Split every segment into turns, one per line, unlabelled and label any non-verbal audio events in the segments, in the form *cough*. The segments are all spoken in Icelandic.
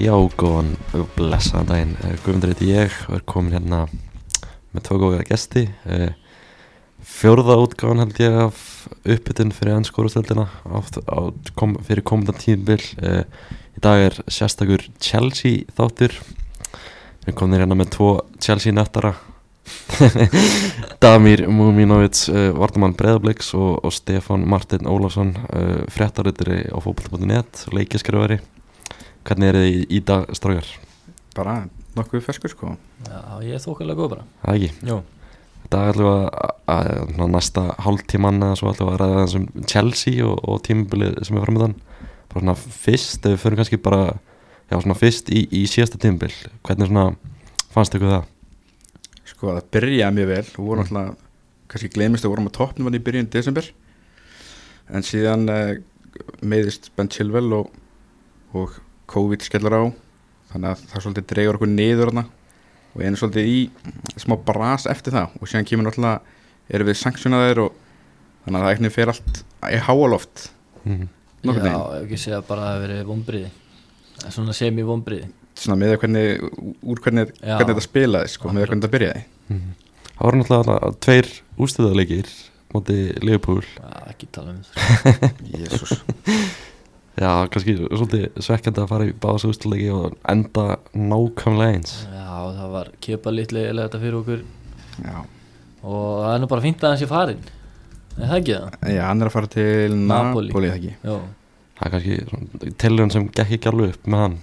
Já, góðan og blessaðan daginn. Eh, Guðmundur heiti ég og er komin hérna með tvo góða gesti. Eh, Fjórða útgáðan held ég af uppbytun fyrir ennskórastöldina kom, fyrir komenda tíðbil. Í dag er sérstakur Chelsea þáttur. Við komum hérna með tvo Chelsea nöttara. *laughs* Damir Muminovic, uh, vartamann Breðabliks og, og Stefan Martin Ólafsson, uh, fréttarittri á fókbalta.net, leikiskrifari. Hvernig er þið í, í dag, strákar?
bara nokkuð ferskur sko
Já, ég er þókkalega góð bara
Það ekki?
Jú.
Þetta er allavega að, að, svona næsta hálftíman eða svo allavega að ræða þessum Chelsea og, og tímabilið sem er framöndan. Bara svona fyrst, ef við förum kannski bara, já svona fyrst í, í síðasta tímabil. Hvernig svona fannst ykkur það?
sko það byrjaði mjög vel og voru alltaf, kannski glemist að vorum á toppnum hann í byrjun desember en síðan uh, meðist Ben Chilwell og, og COVID skellur á þannig að það svolítið dreigur okkur niður hana og einu svolítið í smá bras eftir það og síðan kemur alltaf erum við sanktionaðir og þannig að það eitthvað fer allt í háaloft
Mm.
nokkuð
Já,
neginn,
ef ekki segja bara að það hefur verið vombriði Svona semi vombriði
svona með að hvernig úr hvernig,
Já.
hvernig þetta spilaði sko, með
Akkurat.
að hvernig þetta byrjaði
Það voru náttúrulega þarna tveir ústöðuleikir móti Liverpool.
Ekki tala um það
Jésús
Já, kannski svolítið svekkjandi að fara í báðs ústöðuleiki og enda nákvæmlega eins.
Já, það var kepa litli eða þetta fyrir okkur
Já,
Og það er nú bara fínt að hans ég farin Er það ekki það?
Já, hann er að fara til
Napoli.
Napoli, eða ekki?
Jú.
Það er kannski svona tilhörn sem gekk ekki alveg upp með hann.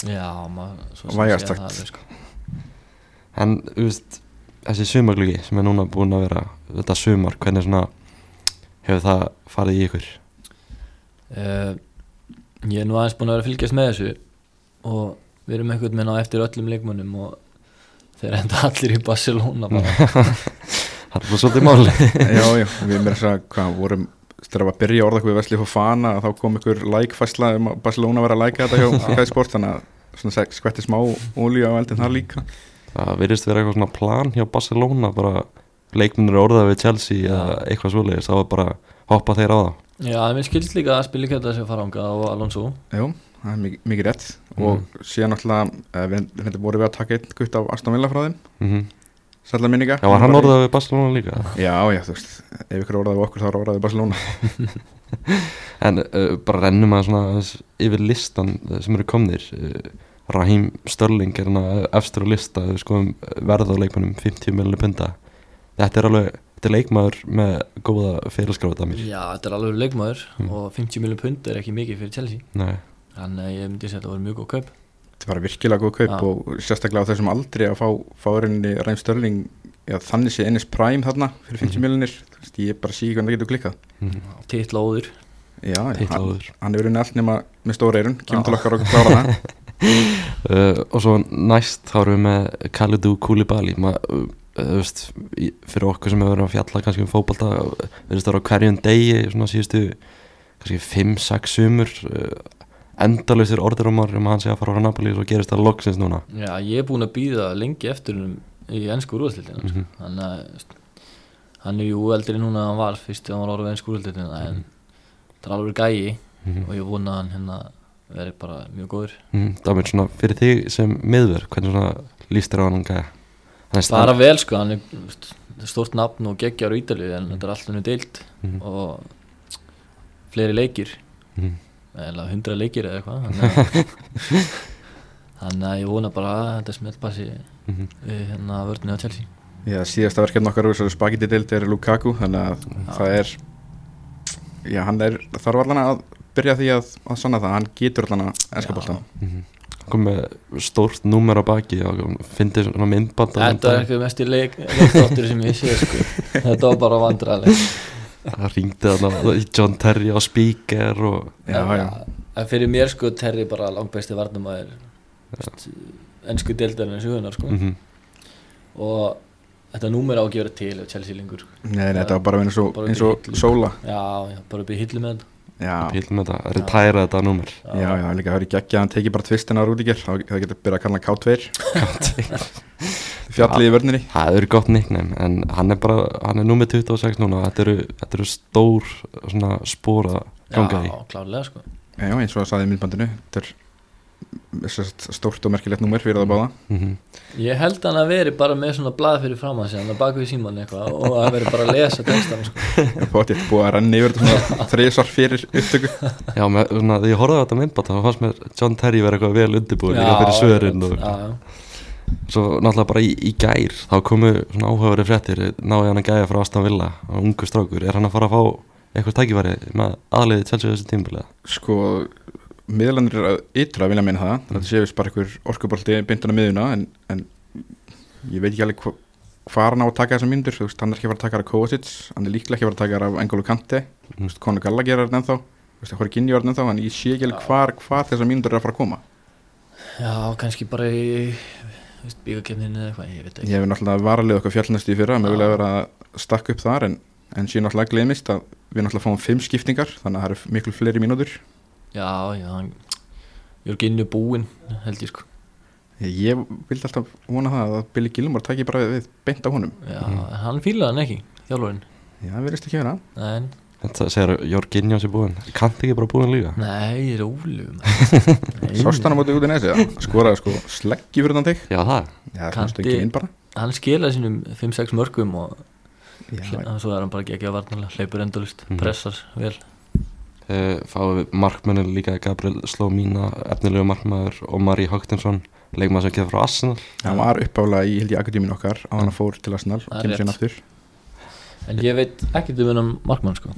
Já, maður svo sem
Vægast
segja
sagt.
það alveg, sko.
En, þú veist, þessi sumarglöggi sem er núna búin að vera þetta sumar, hvernig svona hefur það farið í ykkur?
Eh, Ég er nú aðeins búin að vera að fylgjast með þessu Og við erum einhvern veginn á eftir öllum leikmönnum Og þeir enda *laughs* allir í Barcelona bara
*laughs*
Það er bara svolítið máli.
já, já, við mér að segja hvað vorum þegar var að byrja orða hvað við Vesli Fofana þá kom ykkur lækfæsla um að Barcelona var að læka þetta hjá Kæðsport þannig að svona seg- skvetti smá ólíu á eldin þar líka
Það virðist vera eitthvað svona plan hjá Barcelona, bara leikmennir orðað við Chelsea eða eitthvað svoleiðis, þá var bara hoppa þeir á það.
Já, mér skilst líka að spila kjöta sem fara ánga og Alonso
Jú, það er mikið, mikið rétt
Mm.
og síðan alltaf við, við reyndar vorum við að taka einn gutt af Aston Villa frá þeim
Mm
sætla minninga
Já, var hann orðað við Barcelona líka?
Já, já, þú veist, ef ykkur orðaði okkur þá er orðaði Barcelona
En uh, bara rennum að svona aðeins yfir listan uh, sem eru komnir uh, Raheem Störling er hann efstur á lista við skoðum uh, verð á leikmannum 50 miljonir punta Þetta er alveg, þetta er leikmaður með góða fyrirskráða mér
Já, þetta er alveg leikmaður
Mm.
og 50 miljón pund er ekki mikið fyrir Chelsea
Nei,
þannig að ég myndi segja að þetta voru mjög góð kaup
Þetta var virkilega góð kaup
Já.
og sérstaklega á þessum aldri að fá fárinni Ræm Störling já, þannig sé ennis Prime þarna fyrir 50 mm
Mhm.
-hmm. veist, ég bara sé hvernig það getur klikkað
mm,
titla óður
Já, já, hann,
titlaður
hann hefur unni allt nema með stóra eirun, kemur
Já.
til okkar og klára það
uh, Og svo næst þá erum við með Kalidou Koulibaly Ma, uh, Þú veist, í- fyrir okkur sem hefur verið að fjalla kannski um fótbalta verðist það á hverjum degi svona síðustu kannski 5-6 sumur uh, endalausir orðurómar um að hann sé að fara frá Napoli og svo gerist það loksins núna
Já, ég er búin að býða lengi eftir um í ennsku úrvalstildina mm
Mhm.
þannig að þú veist, hann er jú eldri núna en hann var fyrst þegar hann var orðið ennsku úrvalstildina en það er alveg gæi
Mhm.
og ég vona að hann hérna veri bara mjög góður
Mm, Damir, svona fyrir þig sem miðver, hvernig svona líst þér á hann gæja? Hann er
bara
starf
vel sko, hann er þú veist, þetta er stórt nafn og geggjar á Ítalíu en þetta er alltaf nú deilt
Mhm.
og fleiri leikir
Mhm.
eða hundra leikir eða eitthvað þannig að-
*laughs*
þannig að ég vona bara að þetta smeltbassi
Mhm.
við hérna vörðinu á Chelsea
Já, síðasta verkefni okkar úr þessu spagetti deild er Lukaku, þannig að það er já, hann er, þarf allan að byrja því að, að sanna það, hann getur allan að
Já.
enska bóltan.
mhm. kom með stórt númer á baki og fyndi svona myndband á
þetta er
myndband.
eitthvað mest í leik, leikdóttur sem ég sé sko. þetta var bara vandræðileg
það ringdi þarna í John Terry á speaker og
*laughs* Já, já,
en fyrir mér sko Terry bara langbæsti varnamæður ennsku deildarinn í sögunar sko.
mm -hmm.
og þetta númer á ekki verið til ef Chelsea lengur
Nei, nei, þetta var bara eins og,
Bara
eins og
upp í hillu.
sóla.
Já, já, bara upp í hillu með þetta
Já, já,
píl með þetta, retæra þetta númer
já, já líka það er ekki að hann teki bara tvistin á Rúdíker, þá það getur byrjað að kalla hann K2. *laughs* Fjallið í vörninni.
það eru gott nickname en hann er bara, hann er númer 26 núna þetta eru, þetta eru stór svona spóra ganga í
Já, klárlega sko
Já, eins og það saði í myndbandinu, þetta er sest, stórt og merkilegt númer fyrir það báða
Mhm.
Ég held hann að veri bara með svona blað fyrir fram að sig hann að baka við síman eitthvað og að veri bara að lesa textan sko.
ég er potið búið að renni yfir þetta svona þreysar fyrir upptöku
Já, með, svona, þegar ég horfði á þetta myndbata þá fannst mér John Terry vera eitthvað vel undirbúin líka fyrir svörin og
já, já.
svo náttúrulega bara í, í gær þá komu svona áhugaveri fréttir náði hann að gæja frá Aston Villa og ungu strákur er hann að fara að fá eitthvað tækifæri með aðliði Chelsea á þessu tímbilega
sko miðlanir er að ytra að vilja meina það þetta séu við bara einhver orkubolti bindun á miðuna en, en ég veit ekki alveg hva, hvað hann á að taka þessar myndur þú veist, hann er ekki að fara að taka þær af Kovacic hann er líklega ekki að fara að taka þær af Engolo Kante þú veist, Conor Gallagher er þarna ennþá þú veist, Hóri Ginni var þarna ennþá en ég sé ekki alveg hvar, hvar þessar myndur er að fara að koma
já, kannski bara í bíkakefninu eða eitthvað, ég veit
ég
ekki
hef náttúrulega varalið okkar fjallnæstu í fyrra
Já.
með vilja vera að stakka upp þar en, en sé náttúrulega glemist að við náttúrulega fáum fimm skiptingar þannig að það eru miklu fleiri mínútur
já, já, hann ég er ekki innu búinn, held ég sko
ég vildi alltaf vona það að Billy Gilmore taki bara við, við beint á honum
já,
Mhm.
hann fílaði hann ekki, þjálfurinn
Já, það verðist ekki vera
en,
Þetta segir Jorginjó sé búin Kant ekki bara búin líka
nei, rólu
*laughs*
Sást hann á móti út í nesi Skoraði sko sleggi fyrir þann þig
Já, það
Já, það
Kanti-
fannst ekki inn bara
hann skilaði sínum 5-6 mörgum og
Já,
Já, svo er hann bara geggja varnarlega, hleypur endalist,
Mhm.
pressar vel
uh, fáið við markmennin líka Gabriel Slómína, efnilegu markmaður og Mari Högtinsson, leikmaður sem kemur frá Arsenal
Hann var uppálega í held í akadémin okkar á hann að fór til Arsenal
Það er
kemur sér
rétt.
aftur
En ég veit ekki um hennan markmann sko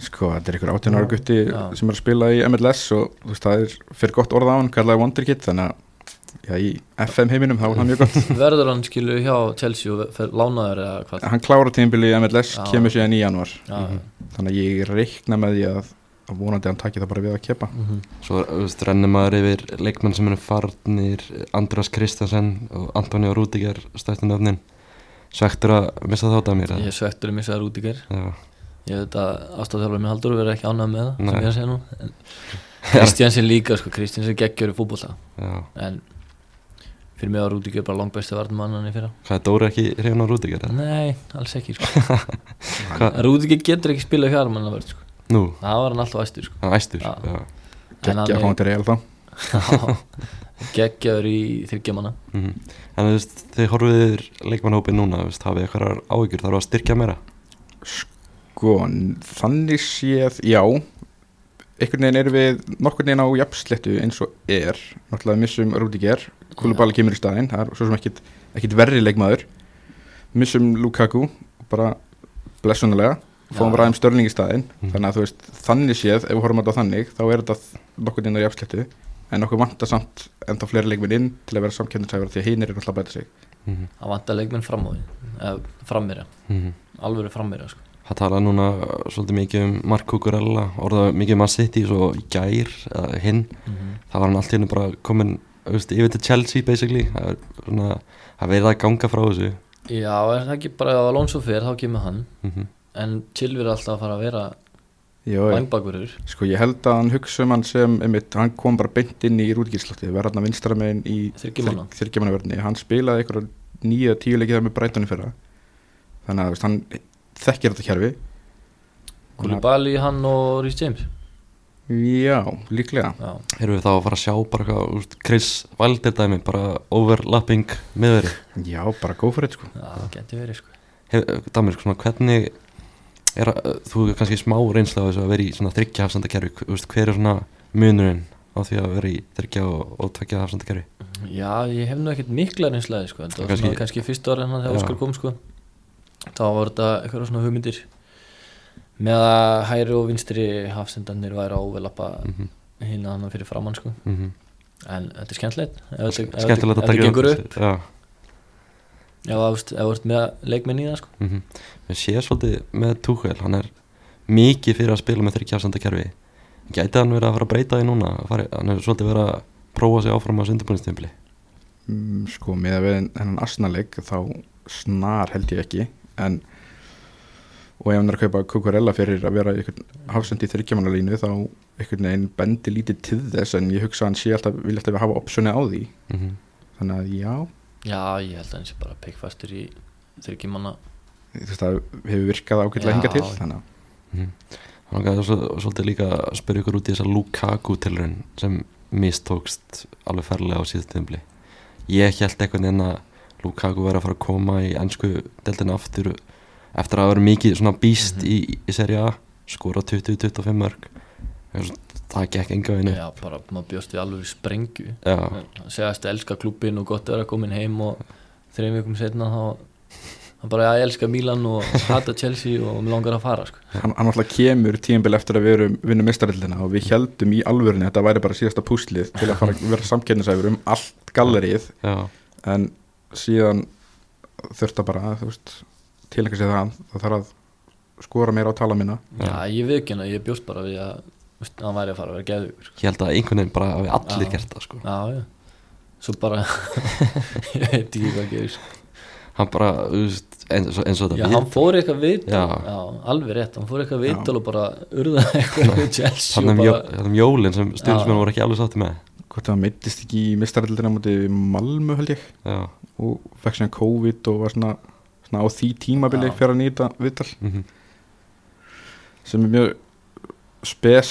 Sko, þetta er einhver 18 ára gutti
Já.
sem er að spila í MLS og þú veist, það er fyrir gott orð á hann kallaði Wonderkid þannig að Já, í FM heiminum þá var hann
*laughs*
mjög gott
Verður hann skilu hjá Chelsea og fer lánaður eða hvað
Hann klára tímbili í MLS,
Já.
kemur síðan í janúar
Já,
Þannig að ég reikna með því að, að vonandi hann taki það bara við að kepa
mhm.
Svo þú veist, rennir maður yfir leikmenn sem eru farnir András Kristensen og Antoni Rúdiger stættu nöfnin Svektur að missa þátt af mér eða?
Ég er svektur um þess að Rúdíker
Já.
Ég veit að ástæðarþjálfur minn Haldur verður ekki ánægð með það
Nei.
sem ég er að segja nú En Kristjansen líka sko, Kristjansen geggjör í fútbolta
Já.
En fyrir mig var Rúdíker bara langbæsti varnmannan í fyrra
Hvað er Dóri ekki reyna á Rúdiger? eða?
Nei, alls ekki sko
Hvað?
Rúdíker getur ekki spilað hjá hann að verð sko
Nú,
Það var hann alltaf æstur sko
hann æstur
Já.
Já.
En hann
Gekkja að fá
er-
hann
*laughs*
til reil þá
Geggjaður í þryggjamanna
Mhm. En þú veist, þið horfið yfir leikmannhópið núna, þú veist, hafið eitthvað áhyggjur þarf að styrkja meira
Sko, n- þannig séð, já einhvern veginn erum við nokkur veginn á jafnsléttu eins og er náttúrulega missum Rúdiger Kulubali kemur í staðinn, það er svo sem ekkit, ekkit verri leikmaður missum Lukaku, bara blessunulega, fáum
Já.
ræðum störling í staðinn
Mm.
þannig að þú veist, þannig séð, ef við horfum á þetta þannig þá er þetta nokkur veginn á jafnsléttu en okkur vantar samt ennþá fleiri leikminn inn til að vera samkjöndisæfara því að hinn er náttúrulega að bæta sig
mm -hmm.
Það vantar leikmenn fram á því Frammýra,
Mhm.
alvöru frammýra sko.
Það talaði núna uh, svolítið mikið um Mark Kukurella, orðaði mikið um að sitt í svo í gær, eða hinn það var hann allt í hennu bara komin veist, yfir til Chelsea basically það er svona, það verið að ganga frá þessu
Já, er það ekki bara að Alonso fer þá kemur hann
mm -hmm.
en Chilvir er alltaf að fara að vera
Jó,
vangbakurur
Sko ég held að hann hugsa um hann sem einmitt, hann kom bara beint inn í rúdgýrslotti verða hann að vinstra meginn í
Þriggja manna.
þyrkjumannaverðinni hann spilaði einhverja nýja tíu leikið þar með breytunni fyrra þannig að þú veist, hann þekkir þetta kerfi
Koulibaly, hann og Rhys James
Já, líklega
Já,
erum við þá að fara að sjá bara hvað úst, Chris Valdir dæmi, bara overlapping miðveri
Já, bara go for it sko
já það getur verið sko.
Damir, svona hvernig er að, þú hefur kannski smá reynsla á þessu að vera í svona þryggja hafsandakerfi, hver er svona munurinn á því að vera í þryggja og, og tveggja hafsandakerfi
Já, ég hef nú ekkert mikla reynslaði sko. en það var
Kannski-
kannski, kannski fyrst ára hann
Já.
þegar Óskar kom sko. þá var þetta eitthvað svona hugmyndir með að hæri og vinstri hafsendarnir væri á velappa
mm -hmm.
hinn að hann fyrir framann sko.
mm -hmm.
en þetta er skemmtilegt ef þetta- ef þetta-
skemmtilegt
ef
að
þetta
taka
gengur upp
já,
Já, þú veist, ef þú ert með leikmenn í það sko.
mm -hmm. við séum svolítið með Tuchel, hann er mikið fyrir að spila með þryggjaðsandakerfi gæti hann verið að fara að breyta því núna fari, hann er svolítið verið að prófa sig áfram á sundarbúinstempli
Mm, Sko, með að við hennan asnaleg þá snar held ég ekki en og ef hann er að kaupa kukurella fyrir að vera hafsend í þyrkjumannalínu þá einhvern veginn bendi lítið til þess en ég hugsa að hann sé alltaf, vilja alltaf hafa optioni á því
mm -hmm.
þannig að já,
Já, ég held að hann sé bara peikfastur í þryggjumanna
þú veist það hefur virkað ágætlega
Já.
hinga til þannig
Mhm. hann er svolítið líka að spyrja ykkur út í þessa Lukaku tilrun sem mistókst alveg ferlega á síðast tímbli ég held einhvern veginn að Lukaku væri að fara að koma í ennsku deltina aftur eftir að vera mikið svona býst
Mhm.
í, í seri A skora 20-25 mörg það gekk enga veginn upp.
Já, bara maður bjóst við alveg sprengju
já,
En hann segast að elska klubin og gott að vera komin heim og þreim vikum setna þá hann bara að elska Milan og hata Chelsea og mig langar að fara sko.
hann, hann alltaf kemur tíðanbili eftir að við erum vinnum mistarildina og við heldum í alvörinu að þetta væri bara síðasta púslið til að fara að vera samkennisæfur um allt gallerið
já,
en síðan þurft að bara þú veist, tilengja sér það það þarf að skora meira á tala minna
Já, ég veit ekki hann að ég bjóst bara við að þú veist, hann væri að fara að vera geðugur sko.
ég held að einhvern veginn bara hafi allir
Já.
gert það sko.
Já, já, svo bara *laughs* ég veit ekki hvað gerir sko.
hann bara, þú veist, eins, og- eins og
Já,
þetta
hann fór eitthvað viðtal
Já.
já, alveg rétt, hann fór eitthvað viðtal og bara urða *laughs* eitthvað við Chelsea
þannig um,
og bara,
bara... um jólin sem
Já.
stjórnismenn voru ekki alveg sátti með
hvort það meittist ekki í mistarildina múti Malmö held ég
já,
og fekk sér COVID og var svona, svona á því tímabili
Já.
fyrir að nýta viðtal
mm
sem er mjög spes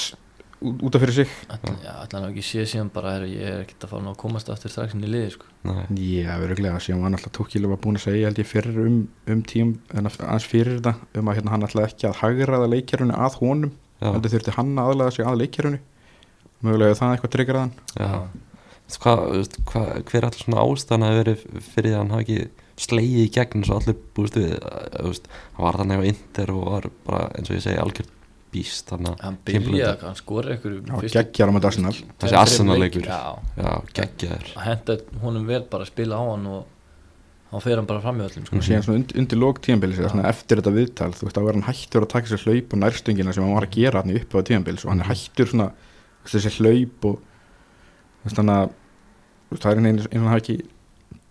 ú- út af fyrir sig
allan, já, allan hafa ekki séð síðan bara heru, ég er ekkert að fara nú að komast aftur strax inn í liði sko.
nei,
Já, öruglega, síðan var náttúrulega Tukil var búin að segja held ég fyrir um, um tím en aðeins fyrir þetta um að hérna, hann ætlaði ekki að hagraða leikjarunni að honum
já,
heldur þurfti hann að aðlaða sig að leikjarunni mögulega hefur það eitthvað tryggraðan
já. Þú veist, Hva, þú veist, hva, hver allir svona ástæðan hafi verið fyrir því að hann hafi ekki slegið í gegn eins og allir búist við Þú veist, hann var þannig á Inter og var bara eins og ég segi algjör býst þannig að
hann
Kimberley.
byrjaði, hann skori eitthvað
Já, geggjar á móti Arsenal.
Þessi Arsenal-leikur. já, geggjaður
að henda honum vel bara að spila á hann og þá fer hann bara fram í öllum sko.
og síðan svona undir, undir lók tíðanbils
Já.
ja. eftir þetta viðtal, þú veist, þá er hann hættur að taka sér hlaup og nærstöngina sem hann var að gera hann upp á tíðanbils og hann
Mm.
er hættur svona þú veist, þessi hlaup og þú veist, þannig að þú veist, það er einu, einu hann hafi ekki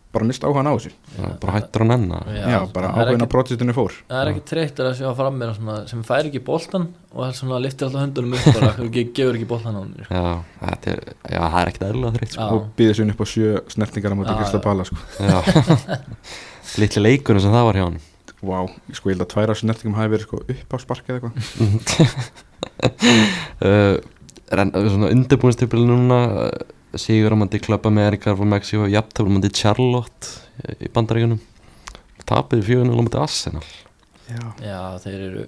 bara mist áhugaðan á þessu já,
Já, Mm, bara hættur hann enna
Já,
bara
það er
áhugaðan
ekki-
á prótistinu fór
það er ekki treyktur að sjá fram mér svona, sem fær ekki boltan og það er svona liftir alltaf höndunum upp bara *laughs* og gefur ekki boltan á hann sko.
já, þetta er, já, það er ekkert eðlilega þreytt sko.
Já.
og býðið sér upp á sjö snertingar á móti
Já, já.
Kristapala sko.
já,
*laughs*
litli leikunum sem það var hjá hann
Vá, sko ég held að tværa snertingum hafi verið sko, upp á sparkið eða eitthvað
uh, renn- svona undirbúinstipil núna uh, sigur á mandi klöpa með Erikar frá Mexíu og jafntafl á mandi Charlotte uh, í bandaríkunum tapið fjögunum á mandi Arsenal
já.
já, þeir eru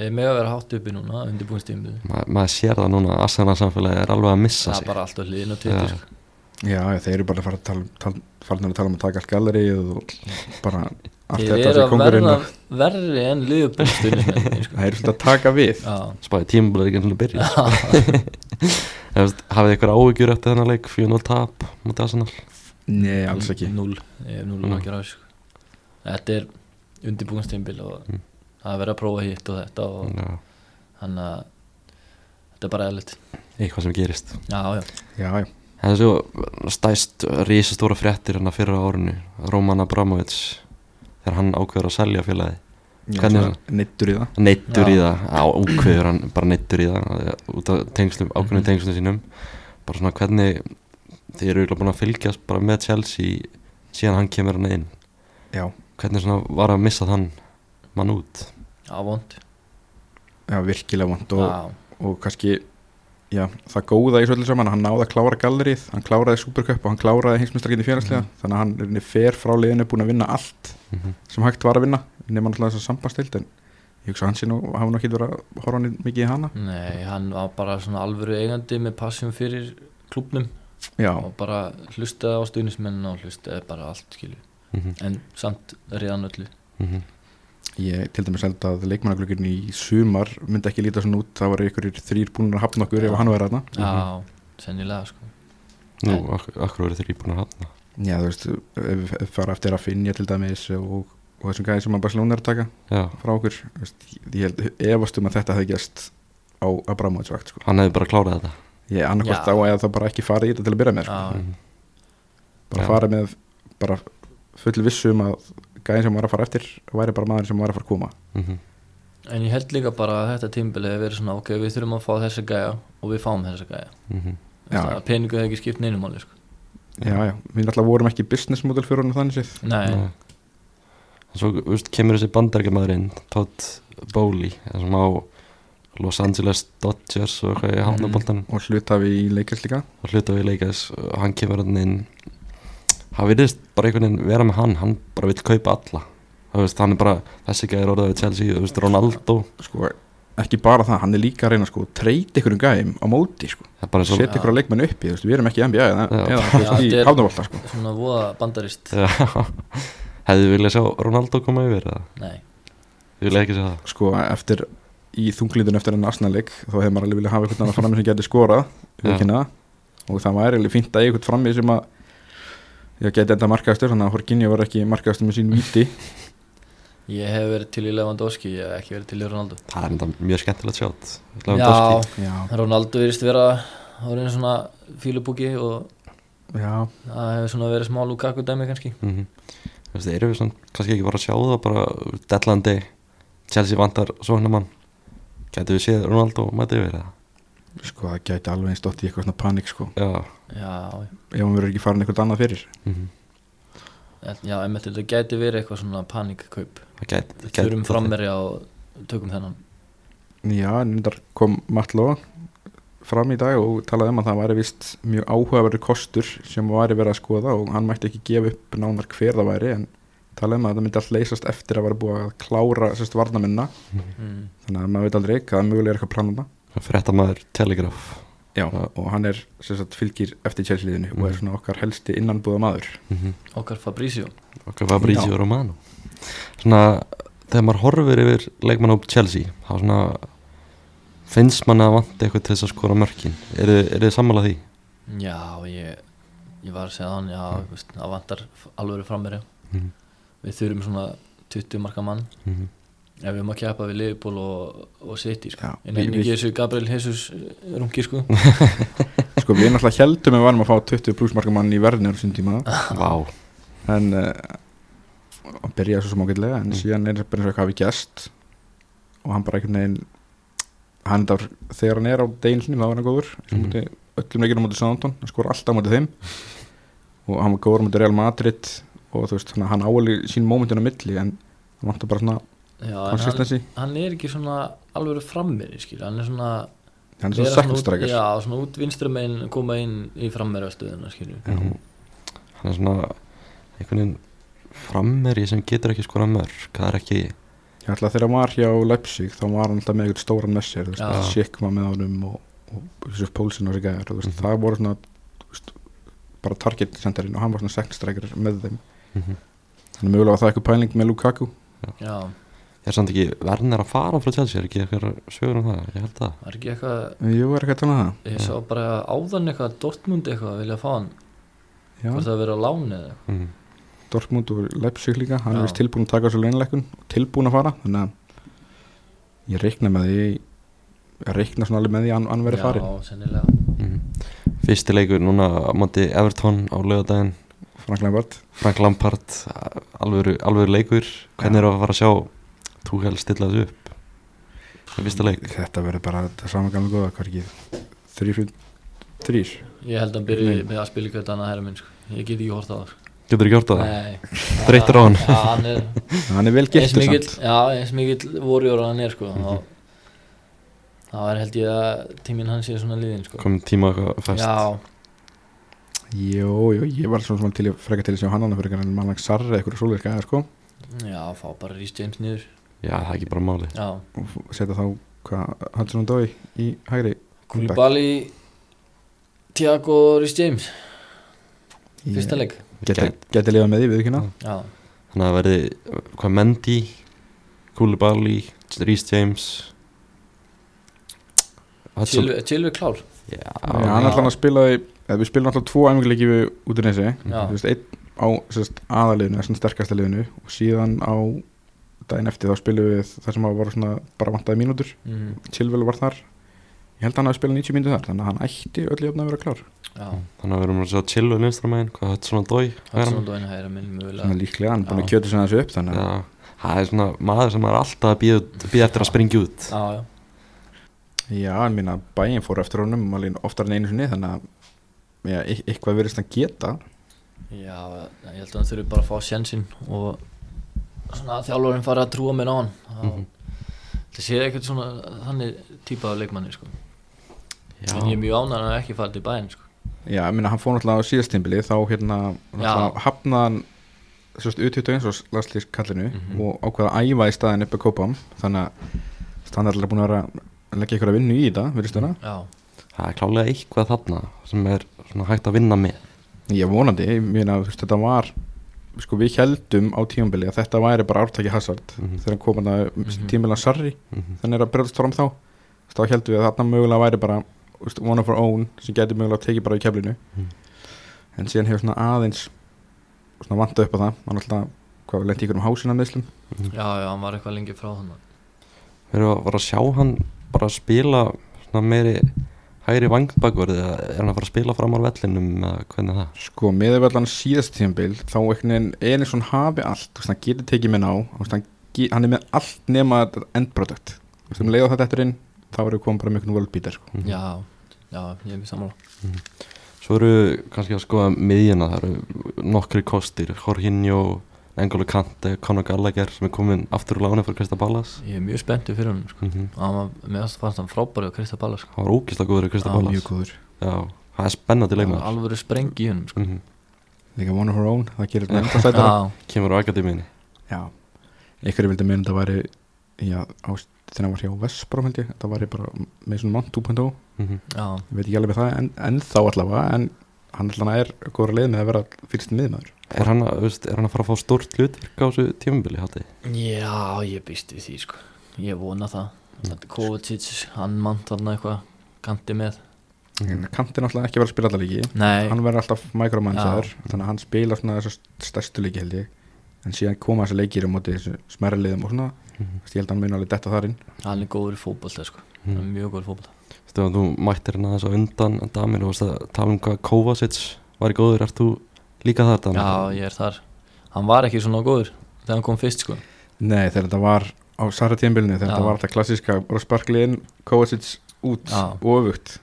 þeir með að vera hátt uppi núna undirbúinstímið
Ma, maður sér það núna að Arsenal samfélagi er alveg að missa
það
sig
er bara alltaf hliðin og tviti
Já.
sko.
já, já, þeir eru bara farin að tala, tala, farin að tala um að taka allt gallerið og bara allt
þeir
þetta
eru
sem
að verða
kongurinn
verri en liðbúinstímið
*laughs*
sko.
það er svona að taka við
já,
spáði tímabulega ekki að byrja sko. En *laughs* þú veist, hafið ykkur áhugjur eftir þennan leik 4-0 tap mot Arsenal
Nei, alls ekki
núl, ég hef núl
Mm.
mm. á þessu sko. þetta er undirbúinstímbil og
Mm.
það er verið að prófa hitt og þetta
Mm.
og
Já,
þannig að þetta er bara eðlut
eitthvað sem gerist
já, já,
Já, já,
en þessu stæst risastóra fréttir hann að fyrra árinu Roman Abramovits þegar hann ákveður að selja félagi Hvernig er
neittur í það
neittur í
Já.
það, á ákveður hann bara neittur í það eh, út af tengslum, ákveðnum
Mhm.
tengslum sínum bara svona hvernig þið eru örugglega búin að fylgjast bara með Chelsea síðan hann kemur hann inn
Já,
hvernig svona var að missa þann mann út
já, vond
já virkilega vond og,
já,
og kannski já, það góða í svo öllu saman að hann náði að klára gallerið, hann kláraði Supercup og hann kláraði hengsmestarinni
Mm.
félagslega þannig að hann er henni fer frá liðinu búin að vinna allt
mm -hmm.
sem hægt var að vinna nema náttúrulega þess að sambandstild en ég hugsa að hann sé nú, hafa nú ekki verið að horfa hann mikið í hana
nei, hann var bara svona alvöru eigandi með passjum fyrir klubnum
Já,
og bara hlustaði á stuðnismennin og hlustaði bara á allt skilu
Mm -hmm.
en samt reyðan öllu
mhm.
ég til dæmis held að leikmannaglöggin í sumar myndi ekki líta svona út, það var ykkur þrýr búin að hafna okkur
Já.
ef hann var þarna
já, sennilega sko
Nú, ak akkur eru þeir íbúin að hafna
Já, þú veist, ef ef fara eftir að finja til dæmis og, og þessum gæði sem að Barcelona er að taka
Já,
frá okkur þú veist, ég held efast um að þetta hefði gæst á Abramovits vakt sko.
hann hefði bara klárað þetta
ég annarkvæmst
Já.
á að það bara ekki fara í þetta til að byrja með sko.
já,
Mhm.
bara
Já.
fara með bara full vissum að gæðin sem var að fara eftir væri bara maður sem var að fara að koma
Mhm.
en ég held líka bara að þetta tímbili hefur verið svona ok, við þurfum að fá þessa gæja og við fáum þessa gæja
Mhm.
Já.
það peningu hefur ekki skipt neinum áli sko.
já, já, við náttúrulega vorum ekki business model fyrir honum þannig séð
nei,
Nei. En svo þú veist, kemur þessi bandarækjamaður inn Todd Bowley sem á Los Angeles Dodgers og eitthvað í hafnaboltan
Mhm.
og hlutafi í leikast líka
og hluta við leikas og hann kemur hann inn hann virðist bara einhvern veginn vera með hann hann bara vil kaupa alla þú veist, hann er bara, þessi gæðir orðaði Chelsea þú veist, Ronaldo,
sko, ekki bara það, hann er líka að reyna sko, að treyta ykkur um gæm á móti sko.
það er bara svo
setja ykkur að leikmenn upp í, þú veist, við erum ekki í NBA eða,
Já.
eða þú veist,
Já, þetta
í
er-
hafnavólta sko.
svona voða
*laughs*
bandarist
Já. hefðu viljað sjá Ronaldo koma yfir eða,
nei,
þið viljað ekki sjá það
sko, eftir í þunglindun eftir enn arsnaleik, þá hefði maður alveg viljað hafa eitthvað annað frammi sem geti skorað
Já.
viðurkenna það. og það væri alveg fínt að eiga eitthvað frammi sem að ég geti enda markaðastur, þannig að Horkinja var ekki markaðastur með sín víti
ég hef verið til í Lewandowski ég hef ekki verið til í Ronaldo
það er enda mjög skemmtilegt sjátt
já,
já,
Ronaldo virðist vera orðin svona fílubúki og
já,
það hefur svona verið smá Lukaku dæmi kannski
mm -hmm. þú veist, erum við svona kannski ekki bara að sjá það bara Dellandi, Chelsea vantar Sóknamann, getur við séð Ronaldo mæti yfir það
sko, það geti alveg eins dótt í eitthvað svona panik sko,
já,
já,
ef hann verður ekki farin eitthvað annað fyrir
mm
já, einmitt þetta gæti verið eitthvað svona panikkaup
það gæti
Við þurfum frammerja og tökum þennan
já, nýndar kom Matló fram í dag og talaði um að það væri vist mjög áhugaverður kostur sem væri verið að skoða og hann mætti ekki gefa upp nánar hver það væri en talaði um að það myndi allt leysast eftir að vera búið að klára sérst varnamennina
Mhm.
mm.
þannig að maður veit aldrei hvað mögulega er eitthvað planana
fréttamaður Telegraf
já. Mm. og hann er sem sagt fylgir eftir tjálsliðinu og er svona okkar helsti innanbúða maður
Mhm.
okkar Fabrizio
okkar Fabrizio
Já.
Romano svona, þegar maður horfir yfir leikmann á Chelsea þá svona finnst manna að vanta eitthvað til þess að skora mörkin eru er þið sammála því?
já ég, ég var að segja hann já, mm. veist, það vantar f- alvöru frammerja
Mhm.
við þurfum svona 20 marka mann
Mm -hmm.
ef við erum að keppa við Liverpool og, og City sko.
Já,
en
við-
ennig
við-
þessu Gabriel Jesus eh, rungi sko
Hm. sko við náttúrulega heldum að við varum að fá 20 plussmarkamann í verðinu á þessum tíma
Vá,
en uh, að byrja svo sem ágætlega
Mm.
en síðan er bara eins og eitthvað hafi gæst og hann bara einhvern veginn hann er þegar hann er á deginn sinni þá er hann góður eins og
Mm-hmm.
Mhm.
móti öllum leikinu móti Southampton hann skor alltaf móti þeim og hann var góður móti Real Madrid og þú veist þannig að hann áalið sín mómentin á milli en hann vantar bara svona
já, en hann,
konsistensi
hann er ekki svona alvöru frammerja skil hann er svona,
hann er svona
vera út-
sekundstrækjar
já, svona út vinstra megin koma inn í frammerja stöðuna skil
Mhm. hann er svona einhvern veginn frammeri sem getur ekki skora mörk það er ekki,
ég ætla að þegar hann var hjá Leipzig þá var hann alltaf með eitthvað stóran með sér þú
Já.
veist, Schick var með honum og, og Josef Pólsen og þessi gæjar og þú
Mhm.
veist, það voru svona þú veist, bara target senderinn og hann var svona sekstrækir með þeim
Mhm.
þannig að mögulega var það eitthvað pæling með Lukaku
já,
er samt ekki verðnir að fara frá Chelsea, er ekki eitthvað sögur um það ég held það,
var ekki eitthvað
Jú, er ekki að tala um það?
ég sá bara áðan eitthvað Dortmund eitthvað vilja fá hann
Já,
hvort það að vera á láni eða eitthvað.
mm.
Dortmund og Leipzig líka hann
Já.
er vist tilbúin að taka þessu leinleikun og tilbúin að fara þannig að ég reikna með því ég reikna svona alveg með því að hann- hann verið farin
já, sennilega
Mm. fyrsti leikur núna á móti Everton á lögadaginn
Franklæn Vart
Frank Lampard, alvöru, alvöru leikur hvernig er að fara að sjá Tuchel stilla þessu upp í fyrsta leik
Þetta verður bara það saman gamla góða hverki þrýr þrýr
ég held að hann byrja
Nei.
með að spila eitthvað annað herra minn sko. ég get ekki hort á það sko.
getur þú gjort á það?
Nei.
Þreyttur á hann?
Já, hann er
hann er vel
eins
giftur
mikill,
samt
já, eins mikill vorjóra hann er sko. mm það er held ég að tíminn hans sé svona liðin sko.
komið tíma eitthvað fest
já,
Jó, jú, ég var svona svona til að freka til að sjá hann annað fyrir en mannlag sarra eitthvað svoleiðis gæða sko
já, fá bara Rhys James niður
Já, það er ekki bara máli
já,
og f- setja þá hvað Hudson og Dói í hægri Comeback.
Koulibaly Tiago og Rhys James fyrsta leik
Geti, geti lifað með því við ekki ná
já,
þannig að það verði, hvað Mendy Koulibaly, Rhys James Hudson-
Chilvi Chilvi klár
Já,
Já,
já.
hann ætla hann að spila því eða við spilum alltaf tvo æfingarleiki við út í nesi
Já.
þú veist, einn á sérst, aðaliðinu, þessum sterkasta liðinu og síðan á daginn eftir þá spilum við það sem að voru svona bara vantaði mínútur
mm,
Chilwell var þar ég held að hann hafi spilað 90 myndu þar þannig að hann ætti öll í öfna að vera klár
já,
þannig að við erum að sjá Chillu vinstramæðin, hvað Hudson og Dói
hann svona dóin hæra minn
svona
mögulega
líklega, hann er búin
Já.
að kjöta sem þessu upp þannig að
Já, það er svona maður sem er alltaf að býða býða eftir að springa út
já, já,
já, en mín að bæin fór eftir honum alveg oftar en einu sinni þannig að já, e- eitthvað verðist hann geta
Já, ég held að hann þurfi bara að fá sjensin og svona að þjálfurinn fari að trúa mér á hann þá mm
Mhm.
þetta sé ekkert svona þannig típa af leikmanni sko.
Já,
en ég er mjög ánægðan að ekki fara til bæinn sko.
Já, ég minna hann fór náttúrulega á síðastimbili þá hérna náttúrulega hafnaði hann sérst U21 og landslýs kallinu
Mhm.
og ákvaða að æfa í staðin upp að kópa hann þannig að standardlega búin að vera að leggja ykkur að vinnu í þetta, virðist
Mhm.
þarna
já,
það er klálega eitthvað þarna sem er svona hægt að vinna með
Ég vonandi, ég meina þú veist þetta var sko við heldum á tíumbili að þetta væri bara ártaki Hazard
Mhm.
þegar hann kom hann að
Mhm.
tímbilan Sarri
Mhm.
þannig er að brjóðast fram þá Þú veist, þá heldum við að þarna mögulega væri bara þú veist, one of our own sem getur mögulega tekið bara í keflinu
Mm.
en síðan hefur svona aðeins svona vantað upp á það hann alltaf, hvað, lenti ykkur um hásina meðslum
Mm.
já, já, hann var eitthvað lengi frá hann
Við erum að fara að sjá hann bara að spila svona meiri hægri vangbakverði eða er hann að fara að spila fram á vellinum eða hvernig er það
sko, miður vel hann síðast tímbil þá einhvern veginn Elinsson hafi allt þú veist, hann getur tekið með ná þú veist, hann, ge- hann er með allt nema þetta endproduct þú veist, um leiða þetta eftir inn þá erum við komið bara með einhvern worldbeater sko.
Mhm.
já, já, ég er mjög sammála
Svo eru kannski að skoða miðjuna, það eru nokkri kostir, Jorginho, Engolo Kante, Conor Gallagher sem er komin aftur úr láni fyrir Krista Ballas.
ég er mjög spenntu fyrir hann sko.
Mm -hmm.
hann var, mér fannst- fannst hann frábæri á Krista Balla sko.
Það var ógislega góður í Krista
Já,
Ballas.
mjög góður
Já, það er spennandi
Það var
leikmaður.
alvöru sprengi í hann sko.
Mm
líka one of our own, það gerir þetta enda sætara
já,
Kemur á akademiðinni.
Já, einhverju vildi meina þetta væri já, á, þegar hann var hjá Vespró held ég, þetta væri bara með svona mann 2.0,
Mm -hmm.
já,
oh. ég veit ekki alveg með það en, en þá allavega, en hann allavega er góður að leið með að vera fyrst miðmaður
Eh.
Er, hann að- þú veist, er hann að fara að fá stórt hlutverk á þessu tímabili, haldið?
já, ég býst við því sko. ég vona það mm. Kovacic, hann mann þarna eitthvað kanti með
en Kant er náttúrulega ekki að vera að spila alla leiki
Mhm. nei,
hann verður alltaf micromanager, þannig að hann spila svona þessu stærstu leiki held ég en síðan koma þessi leikir á móti þessu smerri liðum og svona,
Mhm.
mm. ég held að hann mun alveg detta þar inn
hann er góður í fótbolta sko.
Mm.
hann er mjög góður í fótbolta
Stefán, þú mættir hérna þess að undan en damir og varst að tala um hvað Kovacic var í góður. Ert þú líka þar, Damir?
já, ég er þar hann var ekki svona góður þegar hann kom fyrst sko.
Nei, þegar þetta var á Sarra tímbilinu, þegar
Já.
þetta var þetta klassíska bara sparkliðin, Kovacic út
Já.
og öfugt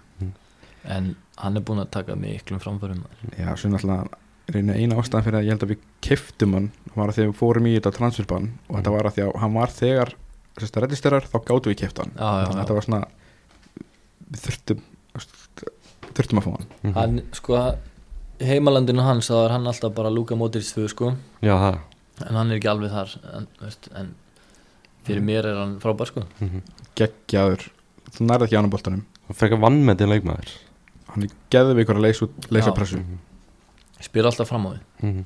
en hann er búinn að taka miklum framförum
Já, svo náttúrulega reyna eina ástæðan fyrir að ég held að við keftum hann var að þegar við fórum í þetta transferbann og þetta
Mm.
var að því að hann var þegar sérst að reddisterar þá gáttu við keft hann
já, já,
þannig að
já.
þetta var svona við þurftum þurftum að fá hann
Mhm.
hann sko heimalandinu hans þá er hann alltaf bara Luka Modric 2 sko
Já, það.
en hann er ekki alveg þar en, veist, en fyrir mér er hann frábær sko
Mm -hmm.
geggjaður, þú nærði ekki á hann á boltanum
Frekar vannmetið leikmaður.
hann geði við ykkur að leysa, út- leysa
Já.
pressu
spyr alltaf fram á því
Mhm.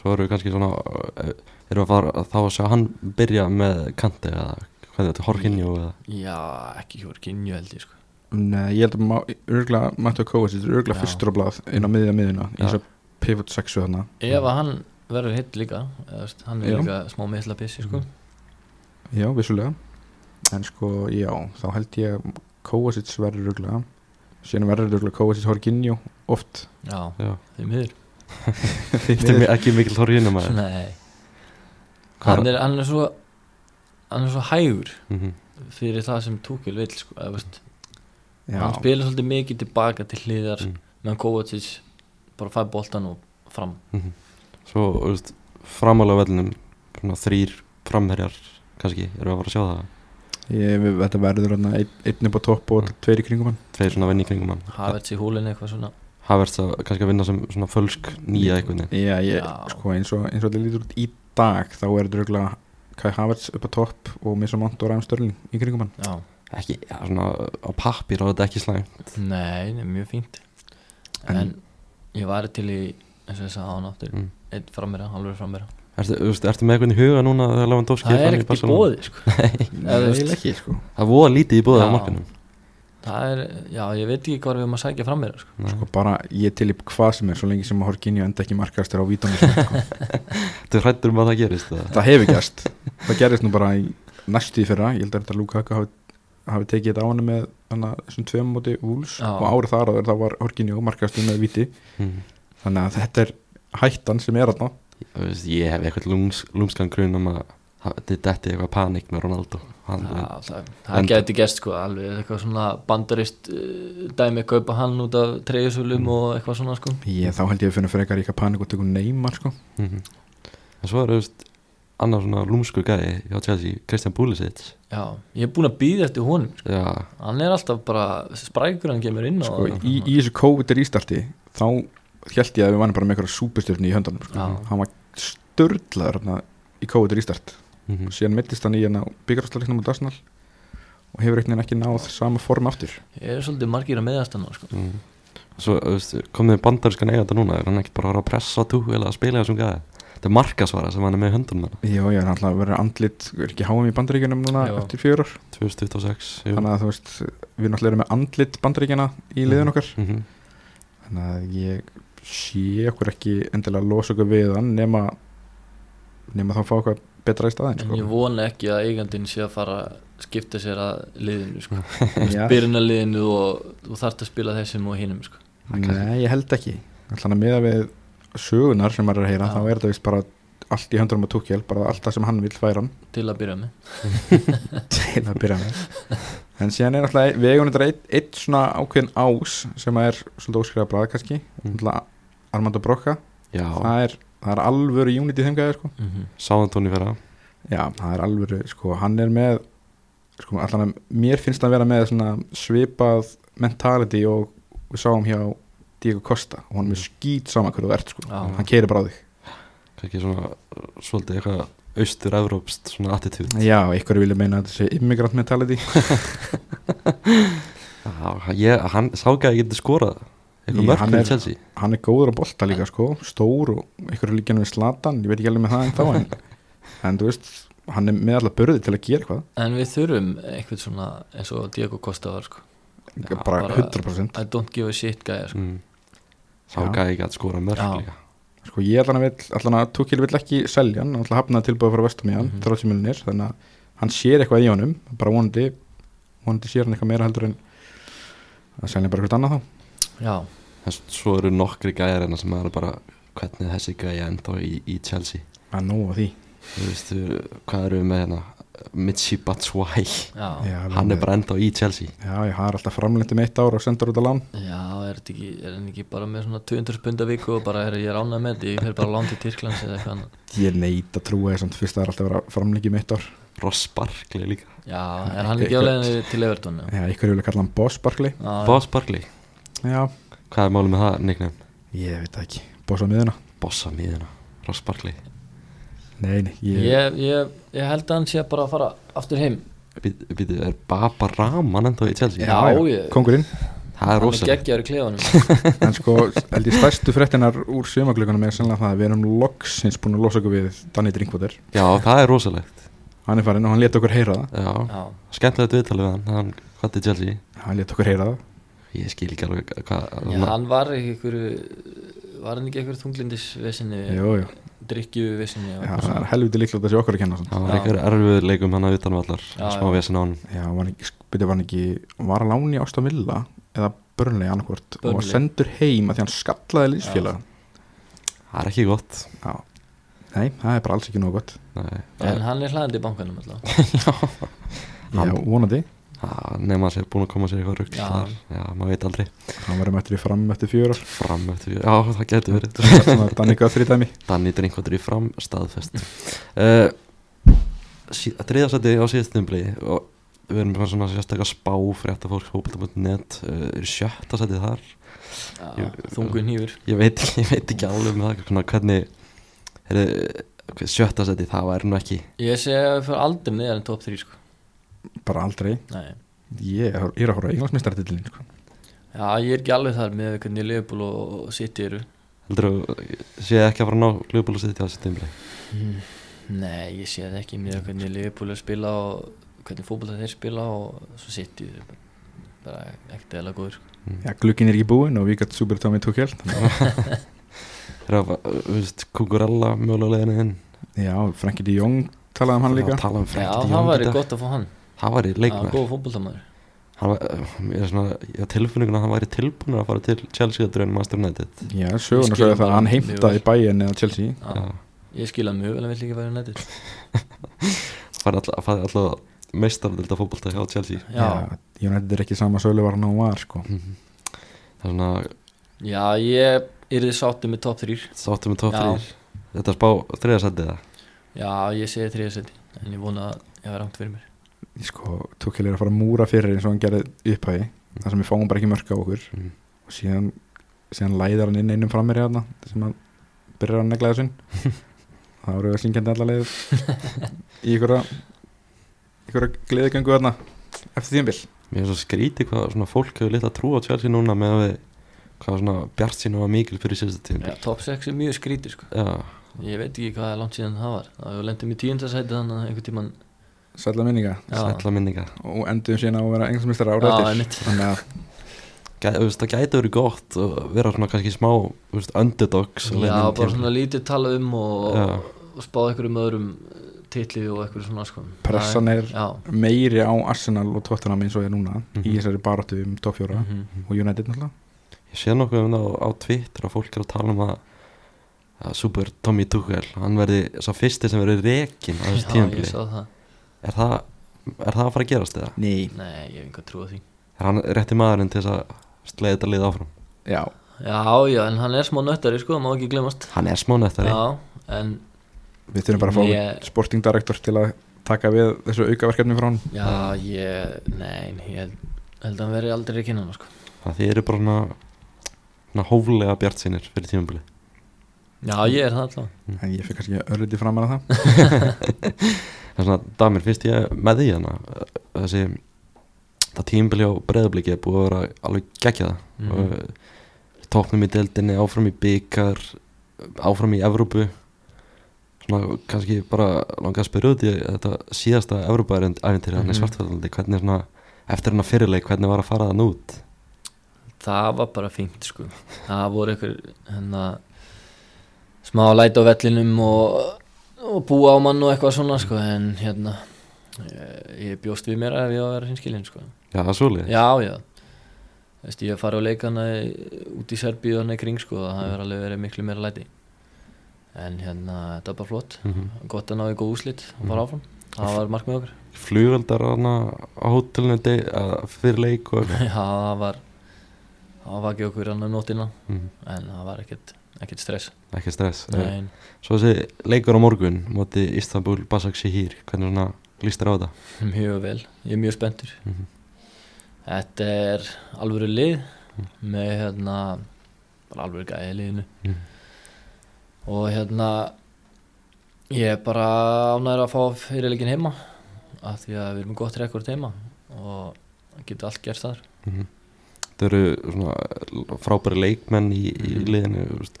Svo eru við kannski svona eh, erum við að fara þá að sjá hann byrja með kanti eða hvað er þetta, Horkinjó eða
já ekki hjá Kinju held ég sko
Nei, eh, ég held að má- örugglega Matthew Kovacic er örgulega
Já.
fyrstur á blað inn á miðja miðjuna í
Já.
þess að pivot sexu þarna
ef að hann verður hitt líka eða, veist, hann er
Já.
líka smá meðla pissi sko
Já, vissulega En sko, já, þá held ég að Kovacic verður ruglega Síðan verður ruglega Kovacic Horginjó oft
já
Já.
því miður
Þetta er mi- ekki mikil Horkinjó maður
nei
Hvað
hann er, hann er svo hann er svo hægur
Mhm.
fyrir það sem Tukil vill sko eða, veist,
Já,
hann spilur svolítið mikið tilbaka til hliðar
Mm.
meðan Kovacic bara fær boltan og fram
mhm. Svo, þú veist, framalega vellinum svona þrýr framherjar kannski, erum við að fara að sjá það
ég, við, þetta verður hann ein, einn upp á topp og tveir í kringum hann
Tveir svona venni í kringum hann
Havertz í húlinn eitthvað svona
Havertz að kannski að vinna sem svona fölsk nýja einhvern veginn
Já, ég,
Já.
sko, eins og, eins og þetta lítur út í dag Þá er ruglega Kai Havertz upp á topp og Missa Mont og Ræm Störling í kringum hann
Já,
Ekki, já, svona á pappir á þetta ekki slæm
nei, nei, mjög fínt
En-
En, ég væri til í eins og þess að hann áttur
Mm.
mm. Einn frammeira, alveg frammeira
Ertu, þú veist, ertu með einhvern í huga núna þegar Lewandowski
Það er
farinn í
ekkert í
Barcelona?
bóði sko.
Nei,
veist.
eiginlega ekki, sko
Það er voða lítið í bóði á
Já.
markanum
Það er, já, ég veit ekki hvað við erum að sækja frammeira sko.
Nei.
Sko bara, ég er til í hvað sem er svo lengi sem að Horginjó enda ekki markastur á vítunum sko.
Þú hrættur um að það gerist eða?
það hefur gerst *laughs* það gerist nú bara í næstu í fyrra ég held að þetta Lukaku hafi, hafi tekið þetta á hann með hana, þessum tveim móti Úls
Já.
og árið þar áður þá var Horkinjó markastu með viti
Mhm.
þannig að þetta er hættan sem er þarna
Þú veist, ég hef eitthvað lúms, lúmskan grun um að það- þetta detti eitthvað panik með Ronaldo hann,
Já, Það,
En-
það gæti gerst sko, alveg eitthvað svona bandarist uh, dæmi kaupa hann út af
Mm.
treyjusölum og eitthvað svona sko.
ég, þá held ég að finna frekar eitthvað panik og tökum neymar sko.
Mhm. en svo er þú veist annar svona lúmskur gæði hjá Chelsea, Christian Pulisic
já, ég er búin að býða eftir honum sko.
já,
hann er alltaf bara, sprækur hann kemur inn á
sko, í, í þessu COVID er ístarti þá held ég að við vannum bara með einhverja súpustjöfni í höndanum sko.
Já.
hann var störðlaður hérna, í COVID er ístart
mm
og síðan mittist hann í hérna byggarastalegnum á Darsenal og hefur einhvern veginn ekki náð sama form aftur
ég er svolítið margir að meðast hann sko.
mm. svo þú veist, komið bandarískan eiganda núna er hann ekkert bara að fara að pressa tú eða að spila í þessum gæði þetta er markasvara sem hann er með í höndunum hann
Jó, ég er alltaf að vera andlit, er ekki háum í bandaríkjunum núna
Jú.
eftir fjör ár
2026 jú.
þannig að þú veist, við náttúrulega erum með andlit bandaríkjana í liðin okkar
Mhm.
þannig að ég sé okkur ekki endilega að losa okkur við hann nema, nema þá fá okkur betra í staðin
en ég
sko.
vona ekki að eigandinn sé að fara að skipta sér að liðinu sko.
Já.
byrjunarliðinu og þú þarft að spila þessum og hinum sko.
Nei, ég held ekki Þannig að meða við sögunar sem maður er að heyra
Já.
þá er þetta vist bara allt í höndurum að túkjál bara allt það sem hann vil færa hann
til að byrja með
til að byrja með en síðan er alltaf, við eigum þetta eitt, eitt svona ákveðin ás sem er svolítið óskriða bræða kannski
Mm.
mm. Armando Brokka,
já,
það er, það er alvöru unit í þeim gæði sko.
Mhm.
mm -hmm.
sáðan tóni vera
Já, það er alvöru, sko, hann er með sko, allan að mér finnst hann vera með svona svipað mentality og við sáum hjá Diego Costa og hann er með skýt sama hverju þú ert sko.
Já.
hann keiri bara á þig
kannski svona uh, svolítið eitthvað austur-evrópst svona attitút
Já, ykkur vilja meina að þetta sé immigrant mentality
já, ég, hann sá gæði getur skorað
Í,
eitthvað mörg
hann er-
með Chelsea
Hann er góður á bolta líka sko, stór og ykkur er líka hann við Slatan Ég veit ekki alveg með það en þá en, en þú veist, hann er með alltaf börði til að gera eitthvað
en við þurfum eitthvað svona eins og Diego Costa var sko. Já,
Bara
bara-
100%
I don't give a shit gæja sko.
mm. sá
Já.
gæði getur skorað mörg
Já.
líka
Sko ég allan að vil, allan að Tukil vill ekki selja hann Alltaf hafnaði tilbúið frá vestum í hann,
Mhm.
30 miljonir Þannig að hann sér eitthvað í honum Bara vonandi, vonandi sér hann eitthvað meira heldur en að selja bara eitthvað annað þá
já,
en s- svo eru nokkri gæðir hennar sem eru bara hvernig þessi gæði enda í, í Chelsea
Að nú á því
þú veist, uh, hvað eru við með hérna Mitchi Batshuayi
já, já,
Já, við
hann er
með-
bara enda í Chelsea
Já, ég har alltaf framlendum eitt ár og sendur út á lán
er þetta ekki er hann ekki bara með svona 200 punda viku og bara er ég ránað með þetta, ég fer bara lánt í Tyrklands eða eitthvað annað,
Ég neit að trúa þessum fyrst að það er alltaf að vera framlengi um eitt ár
Ross Barkley líka
já, er hann ekki á leiðinni til Everton já,
Já, ykkur vilja kalla hann Boss Barkley
já,
Boss Barkley,
Já,
hvað er málið með það nickname?
ég veit það ekki Boss á miðuna
Bossa miðina, Ross Barkley
Nei, nei, ég,
ég, ég, ég held að hann sé bara að fara aftur heim
Býtu, býtu, er Baba Raman enda í Chelsea?
Já. ég- *laughs*
Kongurinn
það er
hann er
rosalega
geggjaður í
*laughs*
klefanum
En sko, held ég stærstu fréttinar úr sömaglökunum er sennilega það að við erum loksins búin að losa okkur við Danny Drinkwater
Já, það er rosalegt
Hann er farinn og hann leta okkur heyra það
Já,
já,
skemmtilegt viðtalið við hann, hann hvað er Chelsea?
Hann leta okkur heyra það
Ég skil ekki alveg hvað
já, hann var ekki einhverju var hann ekki einhverju þunglindisvesinni
Jú, jú
drikkjuvesinni og
Já,
eitthvað
það
svona.
er helviti líklega að sé okkur að kenna svona.
hann var
Já.
einhver erfið leikum hann að utan vallar
Já,
smá
já.
vesen á hann
Já, var hann ekki, byrja var hann ekki Var að láni ást á Villa eða Burnley annarkvort og var
Burnley.
sendur heim að því hann skallaði lýsfélaga
það er ekki gott
Já Nei, það er bara alls ekki nóg gott
Nei,
en hann er hlæðandi í bankanum alltaf
Já,
Hann-
vonandi
Já, nema að sé búin að koma sér eitthvað rugg
Já.
þar, já, maður veit aldrei
Hann verður mættur í fram eftir fjör
*laughs*
ár
fram eftir, já, það getur verið
Svona Danny Guthrie dæmi
*laughs* Danny Drinkwater í fram, staðfest uh, sí, þriðasæti á síðastum bleið og við erum með svona sérstaklega spá frétta fólk hópa.net, uh, er sjötta sætið þar
Já,
Jú.
þungu nýfur
ég veit, *laughs* ekki- ég veit ekki alveg um það svona, hvernig er, sjötta sætið, það væri nú ekki
Ég segja að við fyrir aldrei niður en top 3 sko.
Bara aldrei
Nei.
Ég er er að horfa englansmestartillin sko.
Já, ég er ekki alveg þar með hvernig Leopold og og City eru
heldur þú, sé ekki að fara að ná glöðbúlu sætið á síðastum bleið
Nei, ég sé það ekki með hvernig Leopold er að spila og hvernig fótbolta þeir spila og svo City þeir eru bara- bara ekkert eða góður sko.
Já, glukkin er ekki búinn og við gætt Super Tommy Tukkel *laughs*
þegar að, uh, þú veist, Kukurella mögulega á leiðinni inn
Já, Frankie de Jong talaði um hann líka
að tala um
Já,
frétti
það væri gott að fá hann
það væri
Það er
leikmaður
góð fótboltamaður
hann var, ég er svona, ég á tilfinninguna að hann væri tilbúin að fara til Chelsea að dröna Master United
Já,
Ég
sögurnar
skil
sögðu það
bara
að hann
mjög
heimtaði
vel.
bæinn eða Chelsea
Já.
Já, Ég skil að mjög vel að vill ekki væri nættið
fari alltaf, fari alltaf meistarvelda fótbolta hjá Chelsea
Já,
United er ekki sama sölu var hann og var sko.
það er svona,
Já, ég er þið sáttið með top 3
sáttum við top
Já.
3 þetta er spá þriðasætið það
Já, ég segi þriðasetti en ég vona að ég hafa rangt fyrir mér
Ég sko, Tukkel er að fara að múra fyrir eins og hann gerði upphæði þar sem við fáum bara ekki mörk á okkur
Mm.
og síðan, síðan læðar hann inn einum framir hérna þar sem hann byrjar að negla þessin það voru að syngjandi alla leið í ykkurra ykkurra gleðigöngu hérna eftir tíðanbill
Mér er svo skrítið hvað svona fólk hefur litla trú á Chelsea núna með að við hvað svona bjart sín var mikil fyrir síðasta tíma
Já, top 6 er mjög skrítið sko
Já,
Ég veit ekki hvað er langt síðan það var Það við lendum í tíundasæti þannig að einhvern tíman
sætla minninga
sætla minninga
og enduðum síðan á að vera englismistara
Já,
ára
einmitt.
þannig að
Gæ, þú veist, Það gæti verið gott að vera svona kannski smá þú veist, underdogs á
Já,
leiðinni
bara
til-
svona lítið tala um og,
Já.
og spáð einhverjum öðrum eh, titli og einhverjum svona sko
pressan er
Já,
meiri á Arsenal og Tottenham eins og er núna í þessari baróttu um top 4
mhm
og United náttúrulega
Ég sé nokkuð um það á, á Twitter að fólk er að tala um að, að Super Tommy Tuchel, hann verði sá fyrsti sem verði rekin á þessu
Já, ég
tímabili
sá það
er, það, er það að fara að gerast eða?
Nei
Nei, ég hef einhvern trú á því
Er hann rétti maðurinn til þess að sleið þetta lið áfram?
Já,
Já, já, en hann er smá nöttari sko, það má ekki glemast
Hann er smá nettari
Já, en
við þurfum bara að fá
Ég-
sporting director til að taka við þessu aukaverkefni frá hann
Já, ég, nein, ég held- held að hann veri aldrei ekki innan sko.
Það þið eru bara svona, svona hóflega bjart sínir fyrir tímabili
Já, ég er það allavega
en ég fyrir kannski örlítið framar að
*laughs*
það
En svona, Damir, finnst ég með því hérna þessi, það tímabili á breyðabliki er búið að vera alveg geggja
Mhm.
það Tóknum í deildinni, áfram í byggar áfram í Evrópu svona kannski bara langað að spyrja út í þetta síðasta Evrópa-æventir hann í
Mhm.
svartfællandi hvernig svona, eftir hennar fyrirleik, hvernig var að fara þann út
Það var bara fínt sko Það voru ykkur hennar, smá læti á vellinum og, og búa á mann og eitthvað svona sko, en hérna eh, ég, ég bjóst við mér ef ég var að vera hinskilinn sko.
Já, það er svolítið
Já, já Veist, ég farið á leikana í- út í Serbíu og hann í kring sko, það hefur alveg verið miklu meira læti en hérna, þetta var bara flott
Mhm.
gott að ná í góð úslit og fara áfram það var markmið okkur
flugöldar hana á hótelinu de- að- fyrir leik og
já, það var það var ekki okkur annar nótina
Mhm.
en það var ekkert, ekkert stress
ekki stress Nei.
Nein.
svo þessi leikur á morgun móti Istanbul Basak Shehir hvernig svona líst þér á þetta
*laughs* mjög vel, ég er mjög spenntur
Mhm.
þetta er alvöru lið með hérna bara alvöru gæði í liðinu
Mhm.
og hérna ég er bara ánæður að fá fyrirleikin heima af því að við erum með gott rekord heima og það getur allt gerst þar
það Mhm. eru svona frábæri leikmenn í, í liðinu þú veist.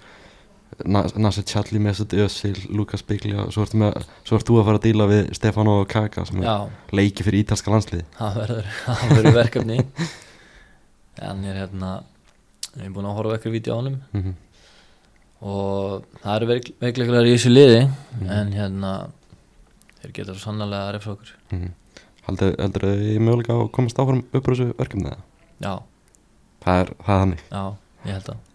Na- Nasser Challi, Mesut Özil Lukas Biglia, svo ertu, með, svo ertu að fara að díla við Stefano Kaka sem er
já,
leiki fyrir ítalska landslið
það verður, *laughs* það verður verkefni en ég er hérna ég er búin að horfa ykkur vídeo á honum
mm
og það eru veik- veikleikar í þessu liði en hérna þeir geta svo sannlega að refsa okkur
-hmm. heldur þau ég mögulega á að komast áfram upp úr þessu verkefni eða?
já,
það er, það er þannig
já, ég held að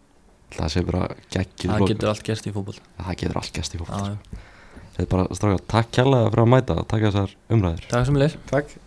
það sé bara geggjum
það getur allt gerst í fútbol
það getur allt gæst í fólk
já, já.
Þetta er bara strákar, takk kjærlega fyrir að mæta og taka þessar umræður
takk sem leir
Takk